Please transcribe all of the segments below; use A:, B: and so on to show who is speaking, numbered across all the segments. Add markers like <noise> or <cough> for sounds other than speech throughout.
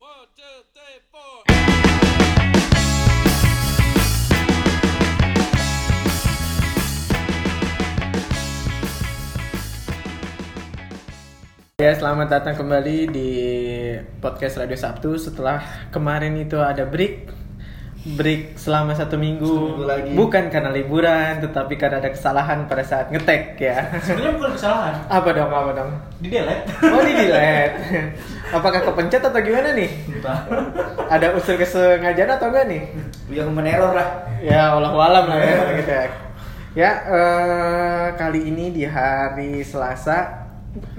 A: two, three, four.
B: Ya, selamat datang kembali di podcast Radio Sabtu. Setelah kemarin itu ada break, break selama satu minggu.
C: Seminggu lagi.
B: Bukan karena liburan, tetapi karena ada kesalahan pada saat ngetek ya.
C: Sebenarnya bukan kesalahan,
B: Apa dong, apa dong?
C: di delete.
B: Oh, di delete. Apakah kepencet atau gimana nih? Ada unsur kesengajaan atau enggak nih?
C: Dia human error lah.
B: Ya, Allah alam lah ya gitu ya. Ya, eh, kali ini di hari Selasa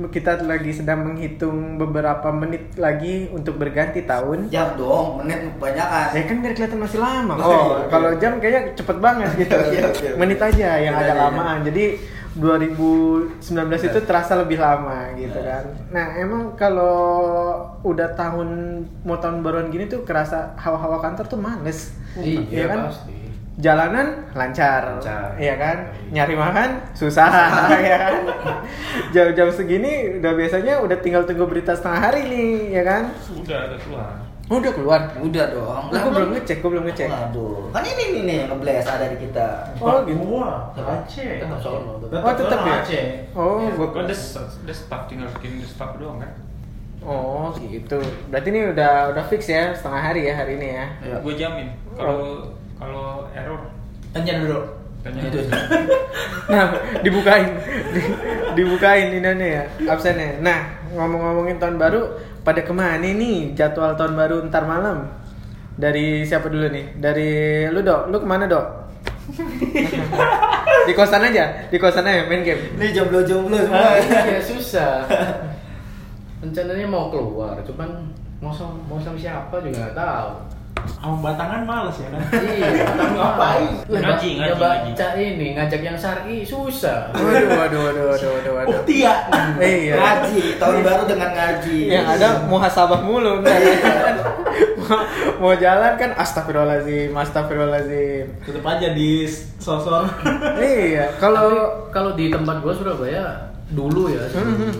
B: kita lagi sedang menghitung beberapa menit lagi untuk berganti tahun.
D: Jam dong, menit kebanyakan.
B: Ya kan biar kelihatan masih lama.
C: Oh,
B: Oh,
C: iya.
B: kalau jam kayaknya cepet <laughs> banget gitu.
C: Iya, iya.
B: Menit aja yang
C: Iya,
B: ada
C: iya.
B: lamaan. Jadi 2019 itu terasa lebih lama gitu
C: Benar.
B: kan. Nah, emang kalau udah tahun mau tahun baruan gini tuh kerasa hawa-hawa kantor tuh males. Iya kan?
C: pasti.
B: Jalanan lancar,
C: Lancar.
B: iya kan? Nyari makan susah, <laughs> ya kan? Jam-jam segini udah biasanya udah tinggal tunggu berita setengah hari nih, ya kan?
A: Udah ada keluar.
B: Oh, udah keluar.
D: Udah dong.
B: Lah, gue belum ngecek, gue belum ngecek.
D: Aduh, kan ini nih nih ngebles ada di kita.
B: Oh, gitu.
C: Wah, Aceh.
D: Tetap sono, tetap.
B: Oh, tetap
C: sono
B: ya?
C: Aceh.
B: Oh,
C: Iya.
B: gua
A: Kan ada ada staff tinggal bikin ada staff doang kan.
B: Oh, gitu. Berarti ini udah udah fix ya setengah hari ya hari ini ya.
D: Iya.
A: Gue jamin
C: Oh.
A: kalau kalau error
C: Tanya dulu.
A: tanya
D: Itu
A: aja.
B: Nah, dibukain. Di- dibukain ininya ya, absennya. Nah, ngomong-ngomongin tahun baru, pada kemana nih jadwal tahun baru ntar malam? Dari siapa dulu nih? Dari lu dok, lu kemana <laughs> dok? di kosan aja, di kosan aja main game.
D: <laughs> Ini jomblo-jomblo semua.
E: Ah,
D: <laughs>
E: <laughs> iya susah. Rencananya mau keluar, cuman mau sama, mau sama siapa juga nggak tahu.
C: Sama batangan males ya kan?
E: <laughs> Iya, tapi
C: Ngapain?
A: Ngaji,
E: Ya, ba-
A: ngaji,
E: ya
A: ngaji.
E: baca ini ngajak yang syar'i susah.
B: Waduh, waduh, waduh, waduh, waduh. waduh.
C: Bukti ya.
B: Iya.
D: Oh, Ngaji, tahun baru dengan ngaji.
B: yang Iya, ada muhasabah mulu ntar. mau, <laughs> mau jalan kan astagfirullahaladzim astagfirullahaladzim
C: Tetap aja di sosor.
B: iya
E: Tapi
B: kalau
E: kalau di tempat gua Surabaya dulu ya sebelum,
B: Mhm.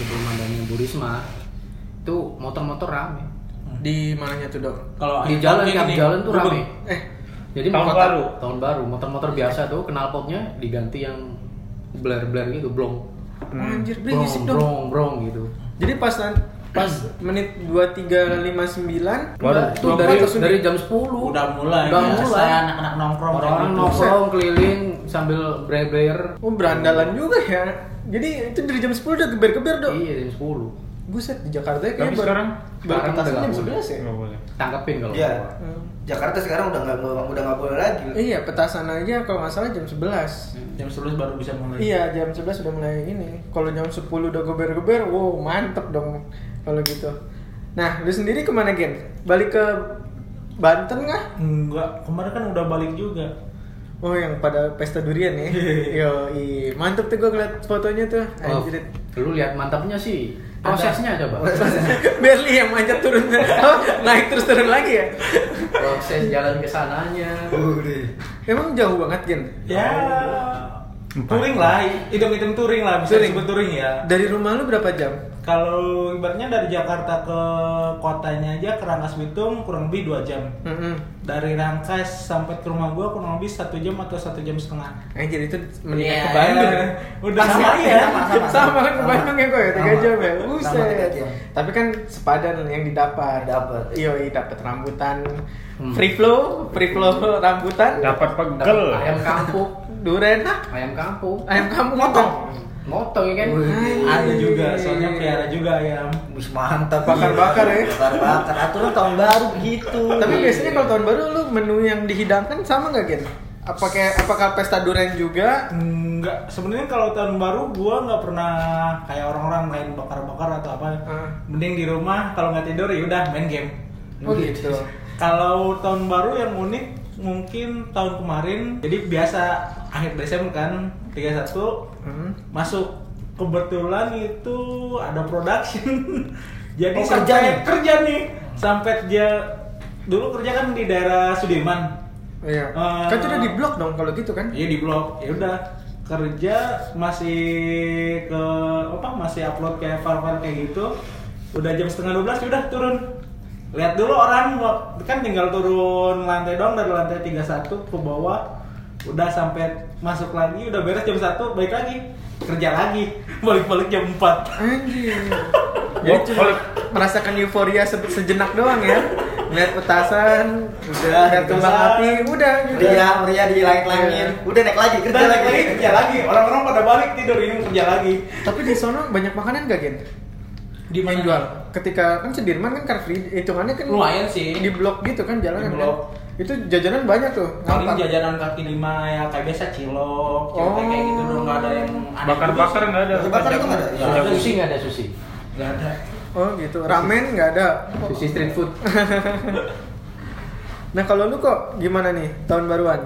E: sebelum adanya Bu Risma itu motor-motor rame.
B: di mananya tuh dok
C: Kalau
E: Di jalan
C: ini
E: tiap
C: nih,
E: jalan tuh
C: gubeng.
E: rame.
B: eh
E: Jadi
A: Tahun
E: motor-
A: baru.
E: tahun baru, motor-motor biasa tuh knalpotnya diganti yang bler-bler gitu, blong.
B: oh, anjir
E: Brong,
B: berisik dong
E: Hmm. brong, brong gitu.
B: jadi pas nan- pas menit 2359
E: Enggak, itu
B: dua
E: dari
B: empat langsung
E: dari
B: di-
E: jam 10
C: Udah mulai.
E: Udah
C: biasa
E: mulai.
C: Anak-anak nongkrong.
E: orang-orang
C: kayak gitu.
E: nongkrong keliling sambil breyer
B: oh berandalan juga ya jadi itu dari jam 10 udah geber-geber dok
E: Iya jam 10.
B: buset di Jakarta ya
A: Tapi
B: kayaknya baru
A: sekarang
B: baru
E: sekarang
B: ketasan
E: udah
B: jam
E: nggak
B: 11 ya
A: nggak boleh.
E: Tangkepin kalau
D: Iya.
E: keluar.
B: Hmm.
D: Jakarta sekarang udah nggak udah nggak boleh lagi.
B: Iya, petasan aja kalau nggak salah jam 11.
C: Jam 11 baru bisa
E: Oh,
C: mulai.
B: Iya jam 11 udah mulai ini. Kalau jam 10 udah geber-geber, wow mantep dong kalau gitu. Nah lu sendiri kemana Gen? Balik ke Banten nggak?
C: Enggak, kemarin kan udah balik juga.
B: Oh yang pada pesta durian ya? Yo mantep tuh gue ngeliat fotonya tuh. <laughs>
E: Oh,
B: Anjir.
E: lu lihat mantapnya sih. Prosesnya <laughs> coba.
B: Berli yang manjat turun <laughs> Apa? naik terus turun lagi ya.
E: Proses jalan ke sananya.
B: Emang jauh banget Gen?
C: Ya. Touring lah, hitung-hitung touring lah, bisa
B: Touring.
C: disebut touring ya.
B: Dari rumah lu berapa jam?
C: Kalau ibaratnya dari Jakarta ke kotanya aja ke Rangkas Bitung kurang lebih 2 jam.
B: Mm-mm.
C: Dari Rangkas sampai ke rumah gua kurang lebih 1 jam atau 1 jam setengah.
B: Anjir itu mendingan
D: Iya,
B: ke Bandung.
C: iya. Udah
B: Pas
C: sama ya?
B: Sama, sama kan ke Bandung ya kok ya, 3
D: Sama.
B: jam ya.
D: Sama tiga
B: Buset.
D: jam.
B: Tapi kan sepadan yang didapat.
D: Dapat.
B: Iya, dapat rambutan
E: Hmm.
B: free flow, free flow rambutan.
A: Dapat pegel.
E: Ayam kampung.
B: Duren ah,
E: Ayam kampung.
B: ayam kamu ngotong.
E: Motong ya kan.
D: Iya.
C: Ada juga, soalnya pelihara juga ya. ayam.
D: Bus mantap.
B: Bakar-bakar ya.
D: Bakar-bakar. Aturan tahun baru gitu.
B: Tapi biasanya kalau tahun baru lu menu yang dihidangkan sama nggak Gen? Apa kayak apakah pesta duren juga?
C: Enggak, sebenarnya kalau tahun baru gua nggak pernah kayak orang-orang main bakar-bakar atau apa.
B: Ah.
C: Mending di rumah kalau nggak tidur ya udah main game.
B: Oh gitu.
C: Kalau tahun baru yang unik mungkin tahun kemarin jadi biasa akhir Desember kan 31
B: Hmm.
C: masuk kebetulan itu ada production <laughs> jadi
D: Oh, kerja
C: sampai
D: nih?
C: kerja nih sampai dia dulu kerja kan di daerah Sudirman
B: Iya.
C: Eh.
B: Kan itu udah di blok dong kalau gitu kan?
C: iya di blog ya udah kerja masih ke apa masih upload kayak file-file kayak gitu udah jam setengah 12 udah ya turun Lihat dulu orang kan tinggal turun lantai dong dari lantai 31 ke bawah udah sampai masuk lagi udah beres jam 1 balik lagi kerja lagi <laughs> balik-balik jam 4
B: Anjir.
C: <laughs>
B: Jadi cuma merasakan euforia se- sejenak doang ya. Ngeliat petasan,
C: Udah, Iya.
B: ngeliat kembang
C: petasan.
B: api, udah gitu.
D: Meriah, Iya, meriah di langit-langit.
C: Iya.
D: Udah naik lagi, kerja
C: Balik
D: lagi.
C: lagi kerja lagi orang-orang pada balik tidur ini mau kerja lagi
B: Tapi di sono banyak makanan gak, Gen? Di yang jual. Ketika kan Sudirman kan car free day, hitungannya kan
C: Lumayan sih.
B: Di blok gitu kan jalanan.
C: Di
B: kan.
C: blok.
B: Itu jajanan banyak tuh.
C: paling
B: ngapak.
C: jajanan kaki lima ya kayak biasa cilok
B: Oh.
C: cilok kayak gitu dong nggak ada yang aneh
A: Bakar-bakar
C: juga
A: nggak ada.
D: Bakar-bakar itu nggak ada.
E: Nggak ada sushi nggak ada sushi.
C: sih. Iya. nggak ada
B: Oh gitu. Ramen nggak ada.
E: Sushi street food.
B: Nah kalau lu kok gimana nih tahun baruan?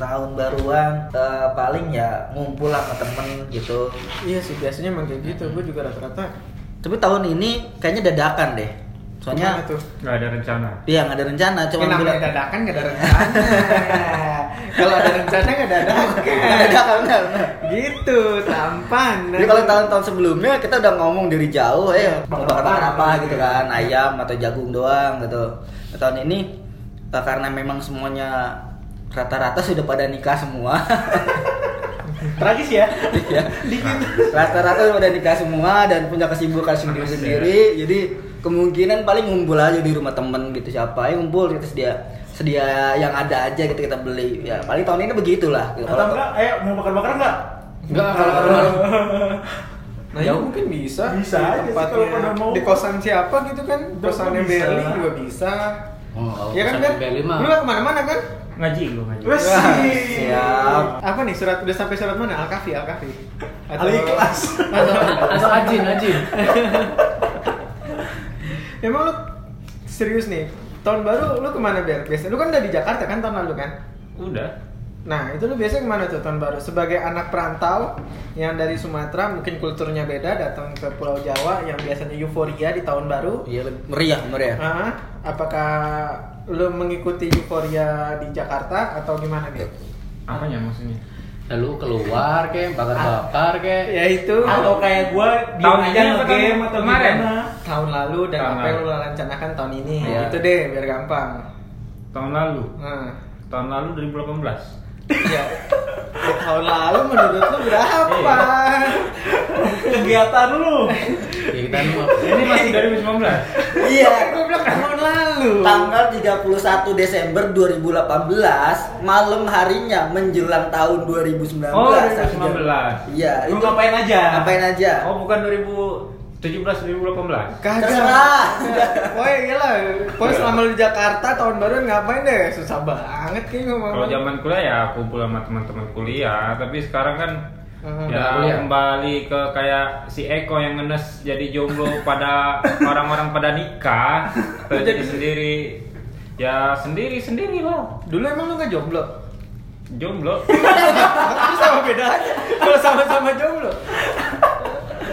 D: Tahun baruan eh, paling ya ngumpul sama temen gitu.
B: Iya sih biasanya emang kayak gitu. Gue juga rata-rata.
D: Tapi tahun ini kayaknya dadakan deh. Soalnya
B: Kemana tuh?
A: Nggak ada rencana.
D: Iya nggak ada rencana, cuma
B: Yang namanya
D: <laughs>
B: dadakan nggak ada <laughs> rencana. kalau ada rencana nggak dadakan.
D: dadakan benar.
B: gitu, tampan.
D: Jadi kalau tahun-tahun sebelumnya kita udah ngomong dari jauh, eh
C: Iya.
D: mau bakar makan apa gitu kan, ayam atau jagung doang gitu. Nah, tahun ini eh, karena memang semuanya rata-rata sudah pada nikah semua,
C: <laughs> tragis ya
D: ya. rata-rata sudah pada nikah semua dan punya kesibukan
C: Iya.
D: sendiri-sendiri. Jadi kemungkinan paling ngumpul aja di rumah temen gitu siapa yang ngumpul gitu sedia sedia yang ada aja gitu kita beli ya paling tahun ini begitulah gitu.
C: atau enggak ayo mau bakar-bakar nggak
E: Enggak kalau ke rumah.
B: Nah,
D: Jauh.
B: ya mungkin bisa.
C: Bisa
B: Di
C: aja sih
B: tempatnya-
C: kalau pada mau.
B: Di kosan siapa gitu kan?
C: Udah,
B: Kosannya
C: bisa.
B: Berli juga bisa.
E: Oh, kalau
B: ya kan
E: pesan
B: kan?
E: di Bali mah.
B: Lu nggak kemana-mana kan?
A: Ngaji gua ngaji.
C: Wes.
B: Wah,
D: siap.
B: Apa nih surat udah sampai surat mana? Al Kafi, Al Kafi.
C: Al-Ikhlas.
E: Atau atau ajin ajin.
B: Emang lu serius nih? Tahun baru lu kemana Ber? Biasanya lu kan udah di Jakarta kan tahun lalu kan?
A: Udah.
B: Nah, itu lu biasanya kemana tuh tahun baru? Sebagai anak perantau yang dari Sumatera mungkin kulturnya beda datang ke Pulau Jawa yang biasanya euforia di tahun baru.
D: Iya, meriah
C: <laughs>
D: meriah.
B: Ah, apakah lu mengikuti euforia di Jakarta atau gimana nih?
A: Apanya maksudnya?
E: Lalu keluar kek, bakar-bakar kek.
B: Ya itu
C: atau kayak gue
A: Tahun
C: diem aja
A: ini apa
C: nge-game
A: tahun
C: atau
A: kemarin?
C: gimana
B: tahun lalu dan
A: Tahun
B: apa yang
A: lalu.
B: lu rencanakan tahun ini.
E: Iya.
B: Itu deh biar gampang.
A: Tahun lalu.
B: Nah,
A: Tahun lalu 2018.
B: ya. tahun lalu menurut lu berapa?
C: kegiatan lu
E: Ya kita mau.
A: Ini masih 2019.
D: Iya.
B: Gue bilang tahun lalu.
D: Tanggal 31 Desember 2018, malam harinya menjelang tahun 2019.
A: Oh,
D: akhirnya.
A: 2019.
D: Iya, itu
C: lu ngapain aja
D: ngapain aja?
A: Oh, bukan 2017 2018.
D: Terserah. Iya.
B: Woi, gila. Pokoknya selama lu di Jakarta tahun baru ngapain deh? Susah banget kayaknya ngomong.
A: Kalau zaman kuliah ya kumpul sama teman-teman kuliah, tapi sekarang kan
B: Hmm,
A: ya
E: nggak kuliah.
A: kembali ke kayak si Eko yang ngenes jadi jomblo pada orang-orang pada nikah, atau jadi sendiri. Ya sendiri-sendiri lah.
B: Dulu emang lu gak jomblo?
A: Jomblo.
B: Terus sama bedanya? Kalau sama-sama jomblo.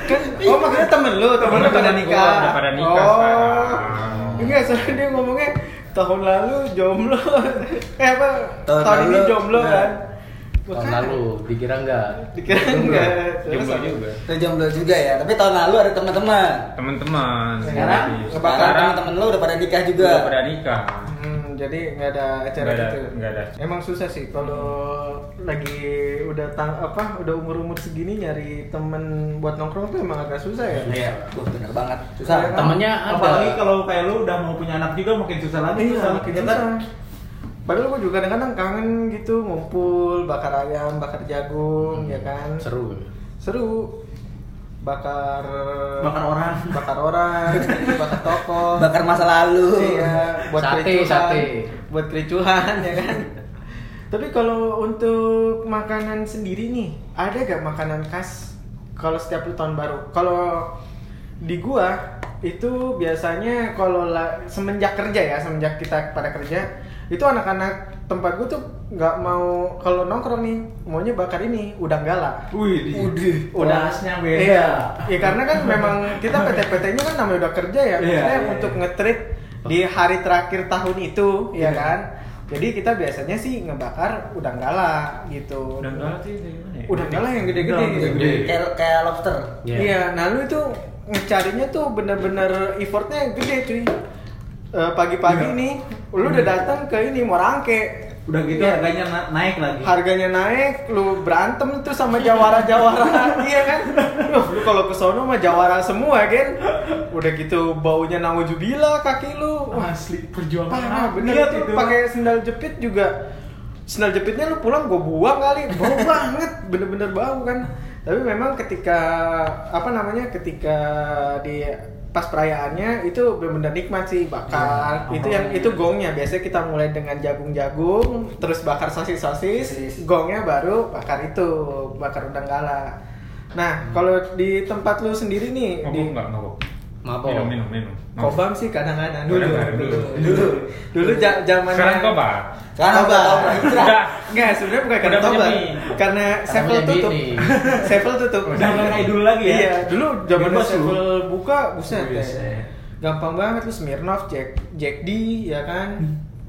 B: Kan, oh maksudnya temen lu, temen lu
A: Temen
B: pada
A: gua
B: nikah.
A: udah pada nikah
B: oh.
A: sekarang.
B: Enggak, soalnya dia ngomongnya tahun lalu jomblo. eh apa? Tahun,
D: Tahun
B: ini
D: lalu,
B: jomblo
A: ya.
D: nah.
B: kan.
E: Tahun lalu dikira enggak?
B: Dikira enggak. Terus
A: Jomblo
B: apa?
A: juga.
D: Lu jomblo juga ya, tapi tahun lalu ada teman-teman.
A: Teman-teman.
B: Sekarang?
A: Serius.
D: Sekarang teman-teman lu udah pada nikah juga.
A: udah pada nikah.
B: Hmm, jadi nggak ada acara
A: Nggak ada,
B: gitu.
A: nggak ada.
B: Emang susah sih kalau lagi udah tang apa udah umur umur segini nyari temen buat nongkrong tuh emang agak susah ya.
D: Iya, wah bener banget. Susah.
B: Iya.
E: Temennya
C: apalagi
E: ada.
C: kalau kayak lu udah mau punya anak juga makin susah lagi
B: Iya,
C: susah.
B: makin
C: Ya kan?
B: susah. Padahal gue juga kadang-kadang kangen gitu ngumpul bakar ayam, bakar jagung,
C: Iya
B: ya kan.
E: Seru.
B: Seru. Bakar
C: bakar orang
B: bakar orang, bakar toko.
D: Bakar masa lalu.
B: iya buat
E: Sate,
B: kericuhan
E: sate.
B: buat kericuhan ya kan tapi kalau untuk makanan sendiri nih ada gak makanan khas kalau setiap lu tahun baru kalau di gua itu biasanya kalau la- semenjak kerja ya semenjak kita pada kerja itu anak-anak tempat gua tuh nggak mau kalau nongkrong nih maunya bakar ini udang gala
C: Wih,
D: Udih.
C: Kelasnya beda.
B: Iya. Ya karena kan memang kita PT-PT-nya kan namanya udah kerja ya.
C: Iya,
B: Maksudnya
C: iya,
B: untuk
C: iya.
B: ngetrit di hari terakhir tahun itu, ya kan. Jadi kita biasanya sih ngebakar udang gala gitu.
A: Udah enggak sih dari mana ya?
B: Udang gala yang gede-gede.
C: Udang gede-gede.
D: Kayak kayak lobster.
E: Iya.
B: Iya, nah lu itu ngecarinya tuh bener-bener effortnya gede cuy. eh, pagi-pagi nih lu udah datang ke ini Morangke
C: Udah gitu
B: Iya.
C: harganya na- naik lagi.
B: harganya naik lu berantem tuh sama jawara-jawara iya kan Duh, lu kalau ke sono mah jawara semua kan udah gitu baunya naujubillah kaki lu wah
C: Asli perjuangan.
B: parah
C: apa
B: bener
C: dia
B: tuh
C: itu?
B: Iya, pakai sendal jepit juga sendal jepitnya lu pulang gue buang kali bau banget bener-bener bau kan tapi memang ketika apa namanya ketika di pas perayaannya itu bener-bener nikmat sih bakar
C: Ya,
B: itu
C: oh.
B: yang itu gongnya biasanya kita mulai dengan jagung-jagung terus bakar
D: Sosis.
B: sosis-sosis gongnya baru bakar itu bakar udang gala nah kalau di tempat lu sendiri nih di
A: Mabuk nggak mabuk?
E: Mabok.
A: Minum minum minum. Mabuk.
B: kobam sih kadang-kadang dulu
A: Oh. Kadang-kadang
B: dulu
A: dulu.
B: dulu dulu ja- zamannya
A: Sekarang kau bang?
D: Sekarang
B: Toba.
D: Toba.
C: <laughs>
A: Udah.
B: Enggak, sebenarnya bukan karena
A: Udah
B: Toba.
A: menyemi.
B: Karena Sevel
E: menyemi
B: tutup. <laughs>
E: nih.
B: Sevel tutup.
C: Udah nggak kayak dulu lagi ya?
B: Iya, dulu zaman
C: Bebas lu.
B: Sevel buka, buset. ya.
C: Buset.
B: Gampang banget lu Smirnoff, Jack, Jack D, ya kan?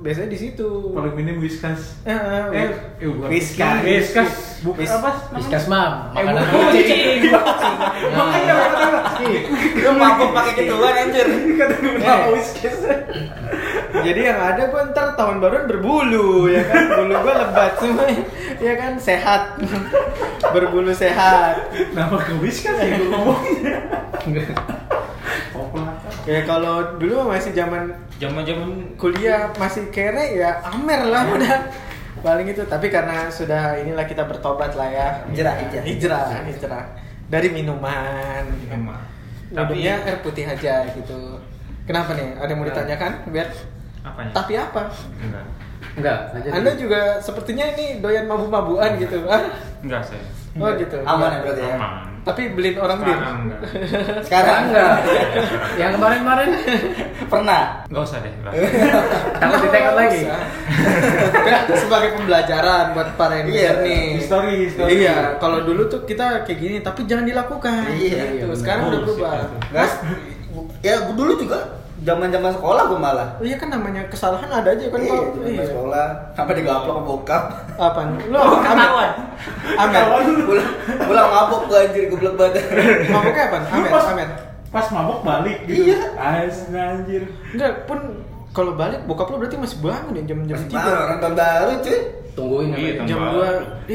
B: Biasanya di situ.
C: Paling minim Whiskas.
B: Eh, eh,
C: Eh, eh, bukan.
B: Whiskas.
A: Whiskas.
C: Bukan
B: Whis-
C: apa? <laughs> namanya?
E: Biskas mam, makanan
C: Eh, bukan.
E: kucing.
C: Makanya makanya
B: Iya.
D: Lu mabuk pakai gitu. gituan anjir.
C: kata gue kenapa
B: Iya.
C: Whiskas.
B: Eh. Jadi yang ada gua ntar tahun baruan berbulu, ya kan? Bulu gua lebat semua, ya kan? Sehat, berbulu sehat.
C: Kenapa ke Whiskas ya gue ngomongnya? Kopla.
B: Ya kalau dulu masih zaman
A: Zaman zaman
B: kuliah masih kere ya amer lah udah paling itu tapi karena sudah inilah kita bertobat lah ya
D: Hijrah, hijrah.
B: hijrah hijrah dari minuman
A: Minuman.
B: tapi
A: Tapi-
B: ya air putih aja gitu kenapa nih ada yang mau ditanyakan biar
A: apanya?
B: tapi apa
A: Enggak.
E: Enggak, lanjut.
B: anda juga sepertinya ini doyan mabu-mabuan gitu ah
A: Enggak saya.
B: oh gitu
D: Aman ya berarti ya.
A: Aman.
B: tapi beliin orang bir
A: Sekarang enggak.
D: Sekarang
E: enggak. Yang kemarin-kemarin
D: Pernah.
A: Enggak usah deh.
B: Iya.
A: enggak.
E: takut ditengok lagi.
B: Kan sebagai pembelajaran buat para yang
D: Iya,
B: denger nih.
C: history, history.
B: Iya, kalau dulu tuh kita kayak gini, tapi jangan dilakukan.
D: Iya,
B: Gitu.
E: iya,
B: Sekarang udah
A: benar.
B: berubah.
D: Gas. Ya gua dulu juga zaman-zaman sekolah gua malah.
B: Oh Iya kan namanya kesalahan ada aja kan
D: Iya,
B: Pak.
D: zaman
B: Iya.
D: sekolah Oh, sampai digaplok ke
B: <laughs>
D: bokap.
B: Apaan? Lu ketahuan. Amer.
D: Pulang pulang mabuk gua anjir goblok banget.
B: Mabuknya apaan?
C: Lu
B: Amer,
C: pas-
B: amer.
C: Pas mabok balik gitu.
D: Iya.
C: As- anjir.
B: Enggak, pun kalau balik bokap lu berarti masih bangun ya jam-jam
D: Masih
B: 3.
D: orang tahun baru cuy.
E: Tungguin
A: Iya,
E: namanya.
A: Bang.
B: Jam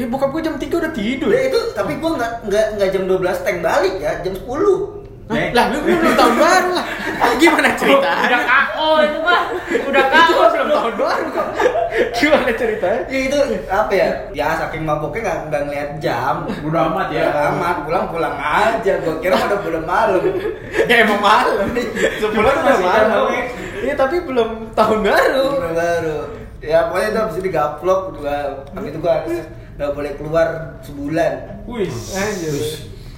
B: 2. Iya, bokap gua jam 3 udah tidur.
D: Ya itu tapi gua nggak nggak nggak jam 12 tank balik ya, jam 10.
B: Hah? Lah, lu lu belum tahun baru lah. eh. <laughs> Gimana ceritanya?
A: Udah KO itu mah. Udah
B: Itu
A: KO
B: belum tahun baru kok. Gimana ceritanya?
D: Ya itu apa ya? Ya saking maboknya nggak nggak ngeliat jam.
C: Bodo amat ya.
D: Bodo amat pulang pulang aja. Gua kira udah pulang malam.
B: <laughs> ya emang malam sebulan
C: Cuman
B: udah
C: masih
B: malam
C: jauh.
B: iya tapi belum tahun baru
D: Tahun baru. Ya pokoknya itu abis itu digaplok dua. Habis itu gua nggak boleh keluar sebulan.
C: Wih.
B: anjir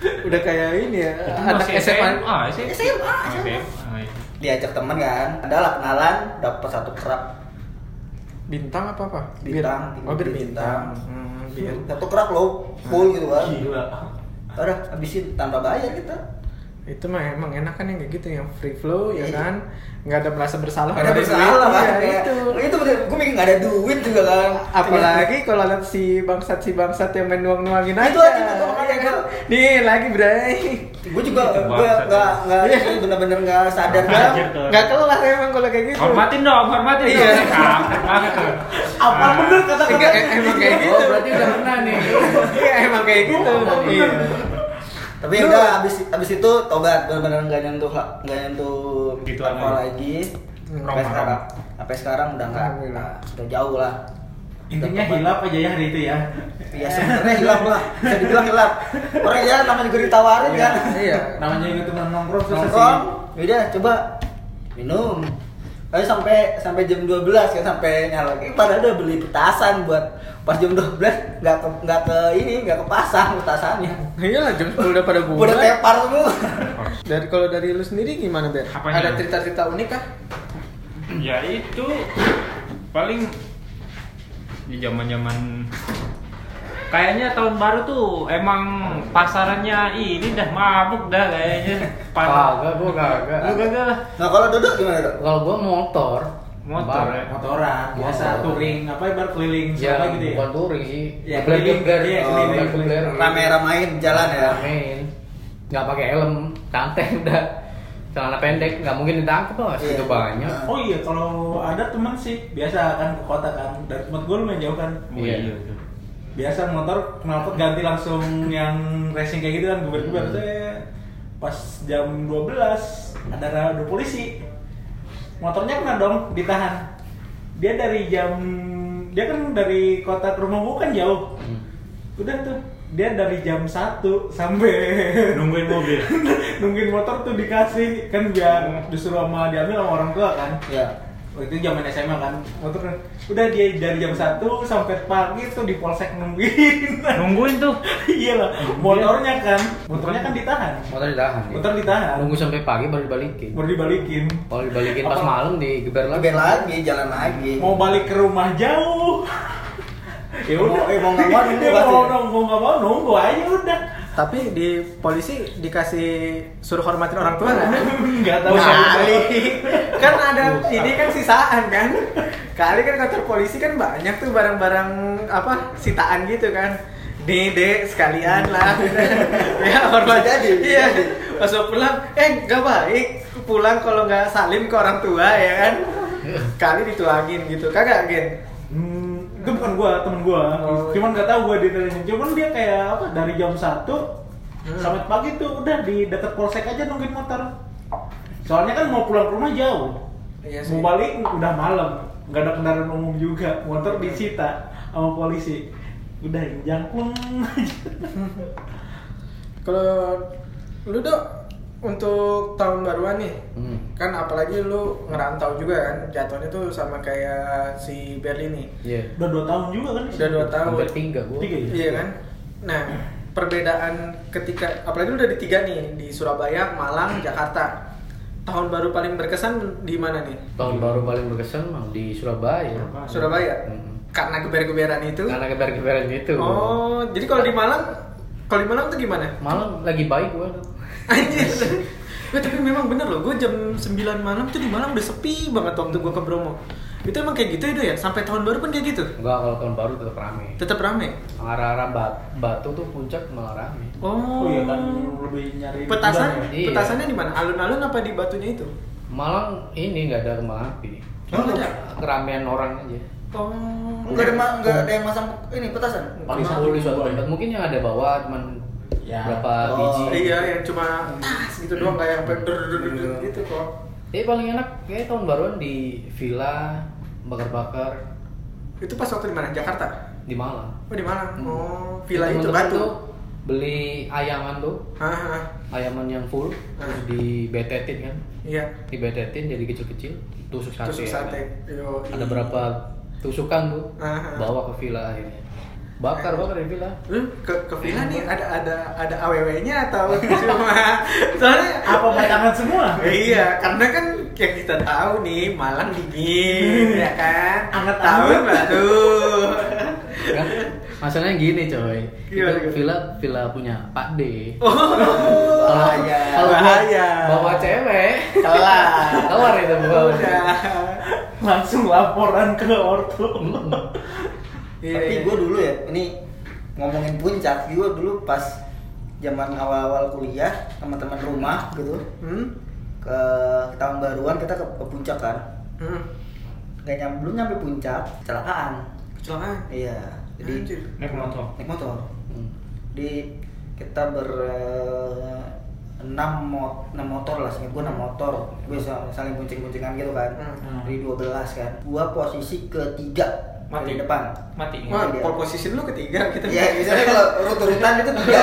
B: udah kayak ini ya anak
A: Masih
B: SMA
A: SMA.
D: SMA.
A: SMA.
D: Diajak teman kan, adalah kenalan, dapat satu kerak,
B: bintang apa apa Bir.
D: Bintang.
B: oh bir bintang
D: Bintang.
B: Hmm, bir
D: Iya, satu kerak lo, full gitu kan.
C: Gila.
D: Udah habisin tanpa bayar kita.
B: itu mah emang enak kan yang kayak gitu yang free flow ya kan nggak ada merasa bersalah
D: Ada
B: duit.
D: bersalah kan?
B: Iya,
D: Kayak,
B: itu
D: itu bener, gue mikir nggak ada duit juga kan.
B: apalagi kalau lihat si bangsat si bangsat yang main nuang nuangin aja
D: Itu aja, itu makanya
B: Iya kan?
D: gua-
B: nih lagi bray
D: gue juga
A: Itu
D: gue
A: bangsat
D: nggak
A: ya.
D: nggak
B: Iya.
D: itu bener-bener nggak sadar
B: nggak
D: kan.
A: Anjir tuh.
B: nggak kelar emang kalau kayak gitu
A: Hormatin dong, hormatin
B: Iya.
A: dong. Kampret banget tuh.
C: Apa
A: Ah.
C: bener kata-kata?
B: Enggak, em- emang kayak
E: Oh,
B: gitu
E: berarti udah pernah nih.
B: Iya emang kayak gitu. Iya.
D: Tapi ya udah abis abis itu tobat bener-bener nggak nyentuh nggak nyentuh
A: Gitu
D: apa
A: aja.
D: lagi.
B: Hmm.
D: Sampai
A: Rom,
D: sekarang sampai sekarang udah nggak
B: Alhamdulillah.
D: nah, udah jauh lah.
C: Intinya
D: Udah
C: hilap aja ya hari itu ya.
D: tobat. Ya sebenarnya hilap lah. Bisa dibilang hilap. Orang ya namanya juga ditawarin kan.
B: Iya.
C: Namanya juga teman nongkrong susah
D: Nongkrong, udah coba minum. Tapi sampai sampai jam 12 ya sampai nyala. Eh, Padahal udah beli petasan buat pas jam 12 nggak ke nggak ke ini nggak kepasang petasannya.
B: Iyalah Iya, jam 10 udah pada
D: Udah
B: bubar.
D: tepar semua.
B: Dari kalau dari lu sendiri gimana Ber?
A: Apanya?
B: Ada cerita-cerita unik kah?
A: Ya itu paling di zaman-zaman Kayaknya tahun baru tuh emang pasarannya ini dah mabuk dah kayaknya. Parah.
E: Kagak, gua kagak.
C: kan-
A: Lu gagal lah.
D: Nah kalau duduk gimana dok?
E: Kalau gua motor,
A: Motor
E: Bang.
A: ya.
C: Motoran, biasa
E: Motor.
C: touring apa bar keliling
E: Ya,
C: siapa gitu ya.
E: bukan touring sih.
C: Ya,
E: Black
C: keliling.
E: Black.
C: Iya,
E: Oh,
D: keliling,
E: Black
C: keliling.
E: Black.
D: Rame-ramain jalan ya.
E: Main. Enggak pakai helm, santai <laughs> udah. celana pendek nggak mungkin ditangkap lah segitu
D: Iya.
E: banyak
C: Oh iya, kalau ada teman sih biasa kan ke kota kan. Dari tempat gue lumayan jauh kan.
A: Oh, iya.
E: Iya.
C: Biasa motor knalpot ganti langsung yang racing kayak gitu kan guber-guber Saya Pas jam 12 ada ada polisi. Motornya kena dong ditahan. Dia dari jam dia kan dari kota ke rumah gue kan jauh. Udah tuh dia dari jam 1 sampai
A: nungguin mobil
C: <laughs> nungguin motor tuh dikasih kan biar disuruh sama diambil sama orang tua kan
D: Iya.
C: Oh, itu zaman SMA kan motor kan. udah dia dari jam 1 sampai pagi tuh di polsek nungguin <laughs>
A: nungguin tuh
C: iya lah motornya kan motornya kan ditahan
E: motor ditahan ya?
C: motor ditahan
E: nunggu sampai pagi baru dibalikin
C: baru dibalikin
E: kalau dibalikin pas
C: Apa?
E: malam digeber lagi
D: Lebih lagi, jalan lagi.
C: mau balik ke rumah jauh ya
D: Mau-
C: udah
D: eh, mau nggak mau nunggu
C: <laughs> Dia
D: pasti.
C: mau nunggu mau nggak mau nunggu aja udah
B: Tapi di polisi dikasih suruh hormatin orang tua kan?
C: <laughs> nggak tahu
B: Kali.
C: siapa
B: kan ada ini kan sisaan kan. Kali kan kantor polisi kan banyak tuh barang-barang apa sitaan gitu kan. Nih dek sekalian <laughs> lah. ya
D: Bisa
B: hormat
D: jadi, bisa
B: Iya.
D: jadi.
B: Pas mau pulang, eh nggak baik pulang kalau nggak salim ke orang tua ya kan. Kali dituangin gitu. Kagak gen.
C: Hmm, itu bukan gua, temen gua.
B: Oh.
C: Cuman gak tahu gua detailnya. Cuman dia kayak apa dari jam 1
B: Hmm.
C: sampai pagi tuh udah di dekat polsek aja nungguin motor. Soalnya kan mau pulang ke rumah jauh.
B: Iya sih.
C: mau balik udah malam. Gak ada kendaraan umum juga. Motor
B: Iya.
C: disita sama polisi. Udah jangkung <laughs> aja.
B: Kalau lu dok untuk tahun baruan nih
E: Hmm.
B: kan apalagi lu ngerantau juga kan jatuhnya tuh sama kayak si Berlin nih
E: Iya.
C: Udah 2 tahun juga kan?
B: udah dua tahun
E: Hampir tiga gua.
C: Tiga ya?
B: iya kan nah perbedaan ketika apalagi lu udah di tiga nih di Surabaya Malang Jakarta tahun baru paling berkesan di mana nih
E: Tahun baru paling berkesan mah di Surabaya.
B: Surabaya
E: Hmm.
B: karena geber-geberan itu
E: Karena keber-keberan gitu.
B: oh jadi kalau di Malang kalau di Malang tuh gimana <laughs>
E: Malam lagi baik gua.
B: Anjir. Gue tapi memang bener loh, gue jam 9 malam tuh di Malang udah sepi banget waktu gue ke Bromo. Itu emang kayak gitu ya, Do, ya? Sampai tahun baru pun kayak gitu.
E: Enggak kalau tahun baru tetap rame.
B: Tetap rame.
E: Arah-arah Bat- Batu tuh puncak malah rame.
B: Oh.
C: Oh iya kan lebih nyari
B: Petasan,
C: udara ya.
E: Iya.
B: petasannya di mana? Alun-alun apa di batunya itu?
E: Malang ini nggak ada kembang api.
B: Nggak ada?
E: Keramaian orang aja.
B: Oh.
D: Enggak ada ma- enggak ada yang masang ini petasan.
E: Paling
C: Kembang
E: sepuluh
C: api
E: di suatu
C: gua.
E: tempat. Mungkin yang ada bawa cuman
C: Ya.
E: berapa
D: Oh,
E: biji.
B: Iya, yang cuma tas gitu doang kayak yang kayak der- der- der- der gitu kok.
E: Tapi paling enak kayak tahun baruan di villa bakar-bakar
B: Itu pas waktu di mana? Jakarta.
E: di Malang.
B: Oh, di Malang.
E: Hmm.
B: Oh, villa
E: Jadi
B: itu
E: temen-temen
B: batu.
E: tuh Beli ayaman tuh,
B: Hah, hah.
E: ayaman yang full terus
B: Ah.
E: dibetetin kan.
B: Iya.
E: Dibetetin jadi kecil-kecil, tusuk sate.
B: Tusuk
E: ya kan.
B: sate. Yo. iya.
E: Ada berapa tusukan tuh?
B: Ah.
E: Bawa ke villa akhirnya. Bakar-bakar di villa.
B: Lu ke ke villa nih
E: Iya.
B: ada ada ada aww-nya atau <laughs> cuma soalnya <laughs>
C: Apa pasangan semua?
B: iya karena kan yang kita tahu nih malam dingin ya kan
C: Anget
B: tahun
C: anget.
B: baru
E: Kan? Masalahnya gini coy,
B: Gimana,
E: itu
B: gimana?
E: villa villa punya Pak D.
B: oh
D: bahaya.
E: gua
B: bahaya.
E: bawa cewek,
D: <laughs> Salah.
E: keluar itu bawa.
B: udah
C: Langsung laporan ke ortu. Iya,
D: Tapi gue dulu ya, ini ngomongin puncak, gue dulu pas zaman awal-awal kuliah sama teman rumah gitu
B: hmm?
D: ke tahun baruan kita ke, ke puncak kan
B: hmm.
D: nggak nyam, belum nyampe puncak kecelakaan
B: kecelakaan
D: iya jadi
B: Anjir.
A: naik motor
D: naik motor
E: Hmm.
D: di kita ber eh, enam mot enam motor lah seingat gue enam motor gue saling buncing buncingan gitu kan
B: Hmm.
D: dari 12 kan gue posisi ketiga
A: Mati.
D: dari depan
A: mati
B: Wah, pole position lu ketiga kita
D: ya misalnya kalau rut-rutan itu tiga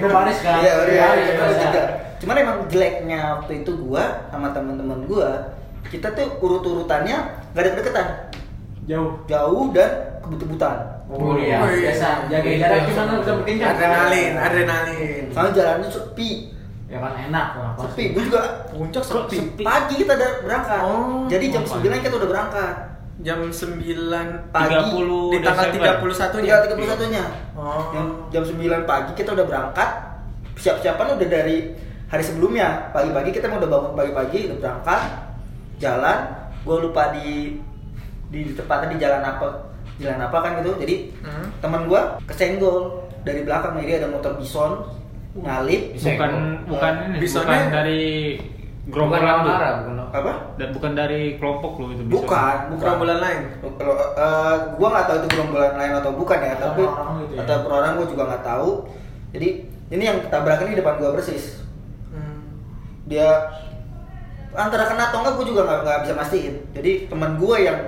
C: Lu baris kan?
D: Iya, udah
C: Iya,
D: baris,
C: iya,
D: baris
C: iya.
D: tiga. Cuman emang jeleknya waktu itu gua sama teman-teman gua, kita tuh urut-urutannya gak ada deketan,
C: Jauh.
D: jauh dan kebut-kebutan.
C: Oh
E: ya.
C: iya,
B: Oh, iya.
C: biasa. Jaga jarak
E: Gitu.
C: gimana udah makin jauh.
B: adrenalin adrenalin
C: Hmm.
D: Soalnya jalannya sepi,
C: Ya kan enak lah.
D: sepi. Gua juga puncak
A: Kok sepi?
D: Pagi kita udah berangkat.
B: Oh.
D: Jadi jam
A: Oh,
D: 9 kita udah berangkat.
B: jam 9
D: Pagi,
A: 30
B: di tanggal
A: Desember.
B: 31
D: Tinggal
B: nya
D: 31 nya.
B: Oh.
D: Jam, jam 9 pagi kita udah berangkat. Siap-siapan udah dari hari sebelumnya. Pagi-pagi kita emang udah bangun pagi-pagi udah berangkat. Jalan, gue lupa di di, di tepatnya di jalan apa jalan apa kan gitu jadi
B: Hmm.
D: teman gue kesenggol dari belakang jadi ada motor bison nyalip
A: bukan bukan ini
B: Bisonnya-
A: bukan dari
E: Bukan
A: gerombolan lu.
E: lamaran, bukan lamaran.
D: Apa?
A: Dan bukan dari kelompok lu itu bisa.
D: Bukan, bukan.
B: Gerombolan lain.
D: Kalau eh, gua nggak tahu itu gerombolan lain atau bukan ya,
C: Atau
D: tapi
C: orang-orang gitu ya.
D: atau per orang gua juga nggak tahu. Jadi ini yang ketabrak ini di depan gua persis.
B: Hmm.
D: Dia antara kena atau enggak gua juga nggak nggak bisa mastiin. Jadi teman gua yang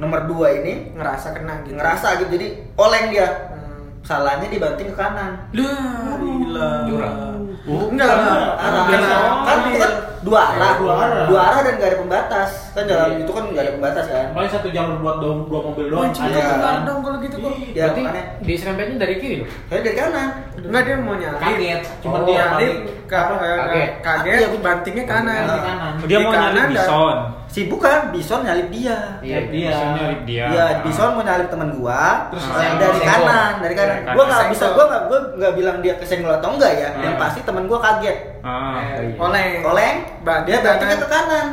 D: nomor dua ini
B: Ngerasa kena gitu.
D: ngerasa gitu, jadi oleng dia.
B: Hmm.
D: Salahnya dibanting ke kanan.
B: Lah, gila.
E: Curang.
B: Oh, enggak lah.
D: Arah,
B: Bukan
D: kan,
B: arah.
D: kan itu kan dua arah,
C: Iya. Dua arah.
D: dua arah dan nggak ada pembatas. Kan jalan
C: Iya.
D: itu kan nggak ada pembatas kan.
C: Paling satu jalur buat dua, dua mobil doang. Iya.
D: Wah, cukup benar
B: dong kalau gitu, kok.
D: Ya,
E: Berarti
D: makanya. Oh, iya.
E: diserempetnya dari kiri loh.
D: Soalnya dari kanan.
B: Enggak dia mau nyari.
C: Kaget, cuma
E: Oh,
C: dia
B: Jadi
C: paling
B: ka- eh,
E: Kaget.
B: kaget, bantingnya kanan.
C: Kanan, kanan.
A: Dia mau
B: Di kanan
A: nyalip
B: dan-
A: Bison.
D: Si bukan, Bison nyalip dia.
E: Iya,
C: dia.
A: Bison nyalip dia.
D: Iya, Bison mau nyalip teman gua.
C: Terus
D: Nah,
C: kesenggol.
D: dari kanan, dari kanan.
A: Dari Iya, kanan.
D: Gua nggak bisa,
B: Kesenggol.
D: gua nggak, gua nggak bilang dia kesenggol atau enggak ya. Yang
A: Hmm.
D: pasti teman gua kaget.
A: Ah.
B: Oleh.
D: Oleng,
B: Berarti
D: dia berarti
B: kanan.
D: ke kanan.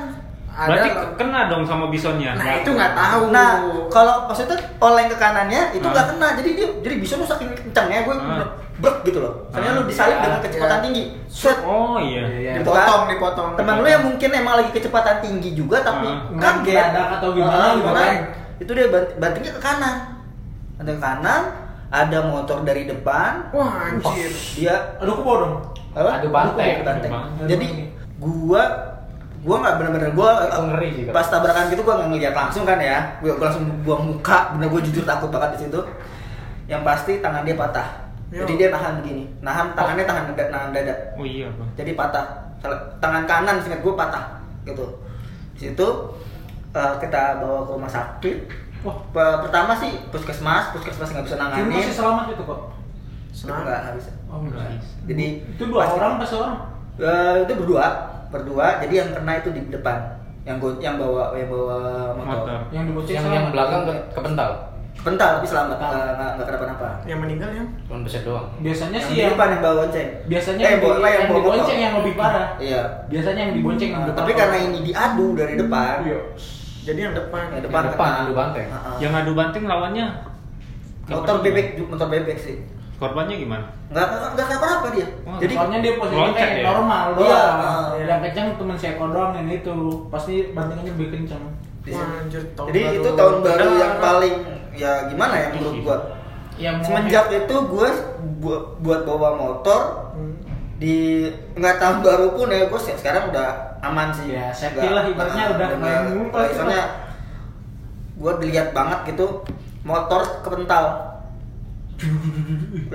B: Ada.
A: Berarti kena dong sama bisonnya.
B: Nah, itu nggak tahu.
D: Nah, kalau maksudnya oleng ke kanannya itu
A: Hmm.
D: nggak kena. Jadi dia, jadi Bison tuh saking kencangnya, gua
A: Hmm.
D: brek gitu loh. Soalnya
A: Hmm.
D: lu disalip
B: Iya,
D: dengan kecepatan
B: iya.
D: tinggi. Set.
A: Oh iya.
E: Iya.
D: Gitu kan.
B: dipotong, dipotong.
D: Teman lu yang mungkin emang lagi kecepatan tinggi juga tapi
A: Hmm.
D: kaget
C: Mendadak atau gimana
D: Ah,
C: gitu
D: gimana?
C: kan.
D: Itu dia bant- bantingnya ke kanan. Banting ke kanan, ada motor dari depan.
B: Wah, anjir.
D: Oh, dia
C: Aduh, aku bawa dong.
D: apa?
E: Adu banteng.
D: Adu banteng.
A: Adu
D: Jadi gua gua nggak bener-bener gua
E: Itu ngeri sih, Kak.
D: pas tabrakan gitu gua nggak ngeliat langsung kan ya. Gua, gua langsung buang muka, bener gua jujur takut banget di situ. Yang pasti tangan dia patah.
B: Ya.
D: Jadi dia nahan begini, nahan tangannya tangan dada, nahan dada
A: Oh iya, Bang.
D: jadi patah Salah- tangan kanan singkat gue patah gitu di situ eh, kita bawa ke rumah sakit
C: Wah.
D: Pe- pertama sih puskesmas puskesmas nggak bisa
C: Ini
D: nanganin
C: masih selamat itu kok.
D: Itu nggak habis
C: Oh, enggak.
D: jadi
C: Itu dua
D: pasti-
C: orang pas orang.
D: Eh, itu berdua berdua jadi yang kena itu di depan yang go- yang bawa yang bawa motor,
A: Motor.
C: Yang dibocil
E: Yang
C: selamat.
E: yang belakang ke, kepental.
D: bentar tapi selamat nggak nggak- nggak kenapa-napa
B: Yang meninggal ya? yang
E: Cuman beset doang.
C: Biasanya
D: yang
C: sih
D: di
C: yang
D: depan yang bawa bonceng
C: biasanya
D: eh,
C: yang,
D: bawa,
C: di-
D: lah, yang,
C: yang
D: bawa motor.
C: dibonceng yang lebih parah.
D: iya
C: Biasanya yang dibonceng yang
D: Nah,
C: depan
D: tapi
C: orang.
D: karena ini diadu dari depan
C: Iya.
B: jadi yang depan.
D: yang
E: Yang
D: depan
E: depan,
D: kena.
E: adu banteng.
D: Heeh.
A: Yang adu banting lawannya
D: motor bebek motor bebek sih
A: Korbannya gimana?
D: nggak nggak nggak kenapa-napa dia
A: Wah,
D: jadi
C: Soalnya dia posisinya
A: loncat
C: kayak
A: ya?
C: normal
D: Iya,
C: doang.
D: iya.
C: Yang kencang teman saya doang yang itu. Pasti bantingannya lebih kencang.
D: di sini.
B: Wah, anjir, tahun
D: jadi
B: baru.
D: itu tahun baru
B: Nah.
D: yang paling ya gimana ya menurut gua
C: Yang mau-
D: semenjak itu gua bu- buat bawa motor
B: Hmm.
D: di nggak tahun baru pun ya gua se- sekarang udah aman sih
C: Ya, safety
D: Nggak-
C: lah, ibaratnya
D: nah,
C: udah main mulu
D: nggak-
C: pasti
D: soalnya
C: lah.
D: gua dilihat banget gitu motor kepental